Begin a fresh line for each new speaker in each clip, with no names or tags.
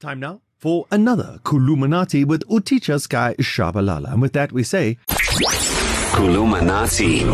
Time now for another Kuluminati with Uticha Sky Shabalala. And with that, we say.
Kulumanati.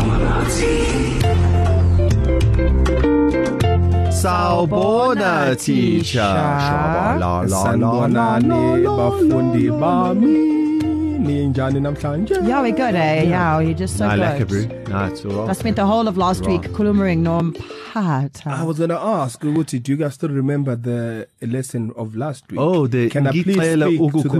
Sawubona teacher. Shabalala, la, la, la,
sanibonani
la, la,
bafundi
la,
bami ninjani namhlanje
Yeah, we're good, eh? Yeah, you're just so
Nah,
good.
Lacabru. Nah, it's all
I
right.
spent the whole of last week kulumering norm pata.
I was going to ask Uguti do you guys still remember the lesson of last week
Oh, the
can I please
ngicela
speak to the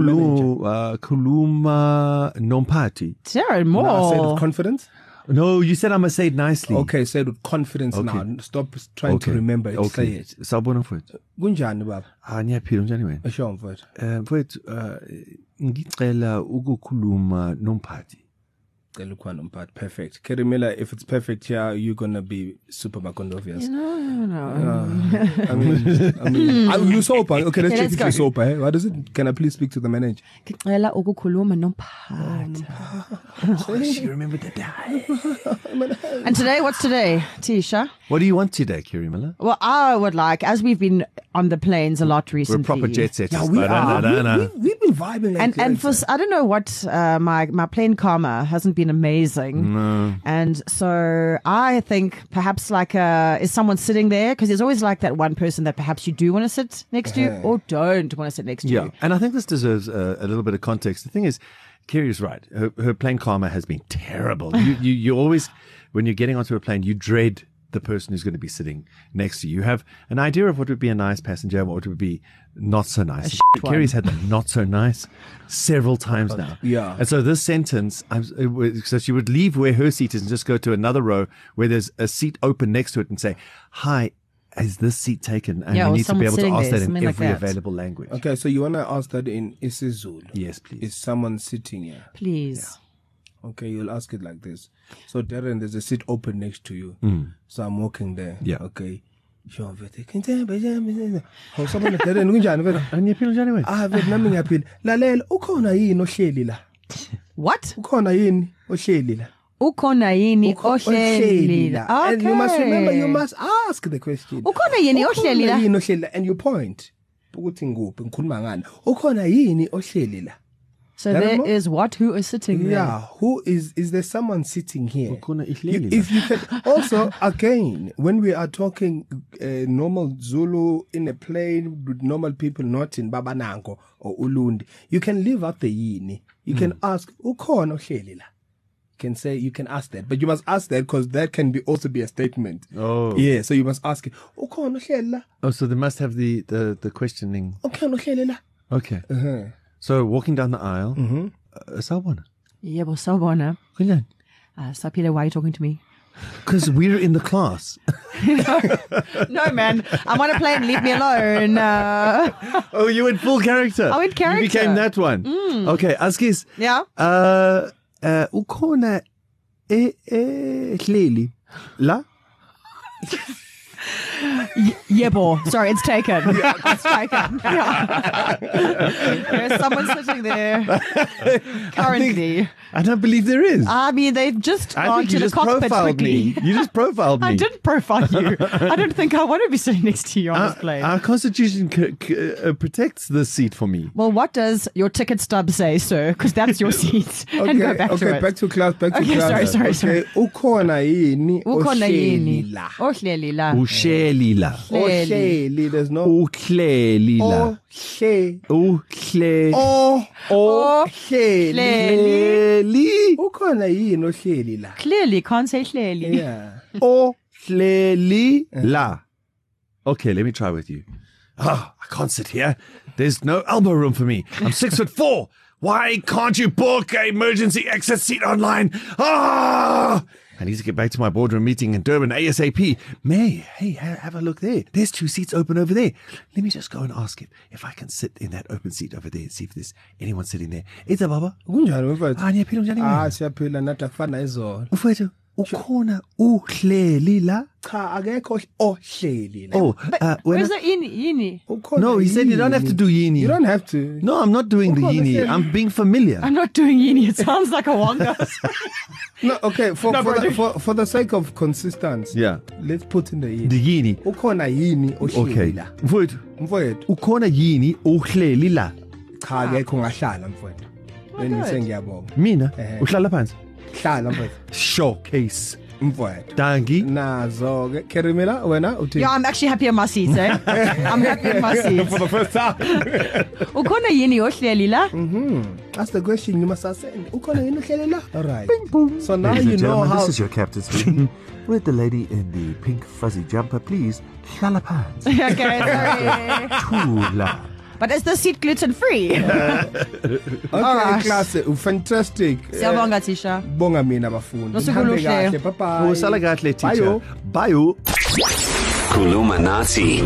ukukhuluma uh,
manager
khuluma nomphathi.
Jared
no, I said
Moore.
with confidence
No, you said I must say it nicely.
okay said with confidence okay. now stop trying okay. to remember it okay. say it
Sawubona mfowethu.
kunjani baba
Ah, ngiyaphila njani wena?
asho mfowethu
Eh mfowethu, uh, ngicela ukukhuluma nomphathi.
cela ukuba nomphathi perfect Kerry Miller if it's perfect here you're going to be super macondovious you know,
No, no, no.
I mean I mean I'm, you sober okay let's
Yeah,
check
let's
if
go.
you're sober eh? what is it can I please speak to the manager
Ngicela ukukhuluma nompata.
Oh, she remembered the day. Um,
And today, what's today, Tisha?
What do you want today, Kiri Miller?
Well, I would like, as we've been on the planes a lot
We're
recently.
proper jet setters.
Yeah, we
but, uh,
are.
no, no, no.
We, we, we've been vibing like
And
that.
and for s- I don't know what uh, my my plane karma hasn't been amazing, no. and so I think perhaps like uh, is someone sitting there because there's always like that one person that perhaps you do want to sit next to you or don't want to sit next to
Uh-huh. Yeah,
you.
and I think this deserves a, a little bit of context. The thing is, Kerry is right. Her, her plane karma has been terrible. You, you, you always, when you're getting onto a plane, you dread the person who's going to be sitting next to you. You have an idea of what would be a nice passenger and what would be not so nice.
one.
Kerry's had the not so nice several times now.
Yeah.
And so this sentence, I'm, it was- so she would leave where her seat is and just go to another row where there's a seat open next to it and say, "Hi." Is this seat taken? And
Yeah,
we
or
need to be
someone
able to
sitting
ask
there,
that in
something like
every
that.
available language.
Okay, so you want to ask that in isiZulu?
Yes, please.
Is someone sitting here?
Please.
Okay, you'll ask it like this. So Darren, there's a seat open next to you. So I'm walking there.
Hmm. Yeah.
Okay. Sure. vele. Hawu sabona Oh, Darren kunjani vele?
Angiyaphila njani wena?
Ah vele nami ngiyaphila. Lalela ukhona yini ohleli la?
What?
Ukhona yini ohleli la?
Ukhona yini
Ukho-
ohleli la?
la. And you must remember you
Okay.
must ask the question.
Ukhona yini ohleli la?
Ukhona yini ohleli la and you point ukuthi nguphi ngikhuluma ngani. Ukhona yini ohleli la?
So
Darren
there
Moore?
is what who is sitting there.
Yeah, who is is there someone sitting here?
Ukhona ihleli
You,
la.
if you can also again, when we are talking uh, normal Zulu in a plane with normal people, not in Babanango or Ulundi, you can leave out the yini. You mm.
Hmm.
can ask ukhona ohleli la. You Can say you can ask that, but you must ask that because that can be also be a statement.
Oh.
yeah. So you must ask it. Ukhona ohleli la?
Oh, so they must have the the, the questioning.
Ukhona ohleli la?
Okay.
Uh-huh.
So walking down the aisle, mm-hmm. uh, sawubona.
Yebo sawbona.
Kunjani?
Uh, Sapile, why are you talking to me?
Because we're in the class.
no, man. I'm on a plane. Leave me alone. Uh,
oh, you went full character.
I went Oh, character. Mm.
You became that one. Okay, Askis.
yeah.
Uh, uh, ukhona eh eh hleli la?
Yebo. Sorry, it's taken. It's taken. Yeah. There's someone sitting there currently. I,
I don't believe there is.
mean, they've just
I
gone
think you
to the
just
cockpit
profiled
quickly.
me. You just profiled me.
I didn't profile you. I don't think I want to be sitting next to you on this
Our,
plane.
our constitution c- c- uh, protects this seat for me.
well, what does your ticket stub say, sir? Because that's your seat.
Okay,
and go back
okay,
to it.
back to class, back to
Okay,
class.
sorry, sorry, sorry.
okay, Ukhona yini
Ukhona
ohleli
yini?
la?
Ohleli la.
Uhleli la.
Ohleli.
Ohleli, there's no
Uhleli la.
Ohle.
Uhle.
Oh.
Ohleli.
Uhleli.
Ukhona yini ohleli la?
Clearly, can't say clearly.
Yeah.
Uhleli la. Okay, let me try with you. Ah, I can't sit here. There's no elbow room for me. I'm six foot four. Why can't you book an emergency exit seat online? Ah! I need to get back to my boardroom meeting in Durban ASAP. May, hey, ha- have a look there. There's two seats open over there. Let me just go and ask it if I can sit in that open seat over there and see if there's anyone sitting there. It's a baba.
Kunjani mfethu?
Ah, niyaphila njani? wena?
Ah, siyaphila nathi akufana izolo.
Mfowethu, ukhona uhleli la
cha akekho ohleli la
oh uh, when
Where's the in yini?
Ukhona
no he said you don't have to
yini.
do yini
You don't have to.
no i'm not doing the
Ukhona
yini
said-
i'm being familiar
I'm not doing yini. It sounds like a wonga.
No, okay, for
No,
for,
but I
the,
do-
for for the sake of consistency.
yeah
Let's put in the
the
yini.
yini
Ukhona yini
okay
ohleli la?
mfowethu
Mfowethu,
ukhona yini uhleli la
cha
Ah.
akekho ngahlala mfowethu. Yini
good.
sengiyabonga.
mina
Eh.
uhlala phansi
Hlala mfowethu.
showcase
Mfowethu.
dangi
Nazo ke Kerimela wena uthi
Yeah, I'm actually happy in my seat, eh? I'm happy in my seat.
the first time.
Ukhona yini ohleli la?
Ask the question you must send. Ukhona yini ohleli la? All right. So now
Ladies
you
and
know
gentlemen,
how
this is your captain speaking. With the lady in the pink fuzzy jumper, please, shalapans,
okay, sorry.
tula.
But is the seat gluten free?
Okay
Alright.
class, u fantastic. Uh,
Siyabonga Tisha.
Bonga mina bafundi.
Nosuku
Nihambe kahle.
oluhle.
Bye bye.
usala kahle
oh.
oh. teacher bayo
Bayo.
Kulumanati.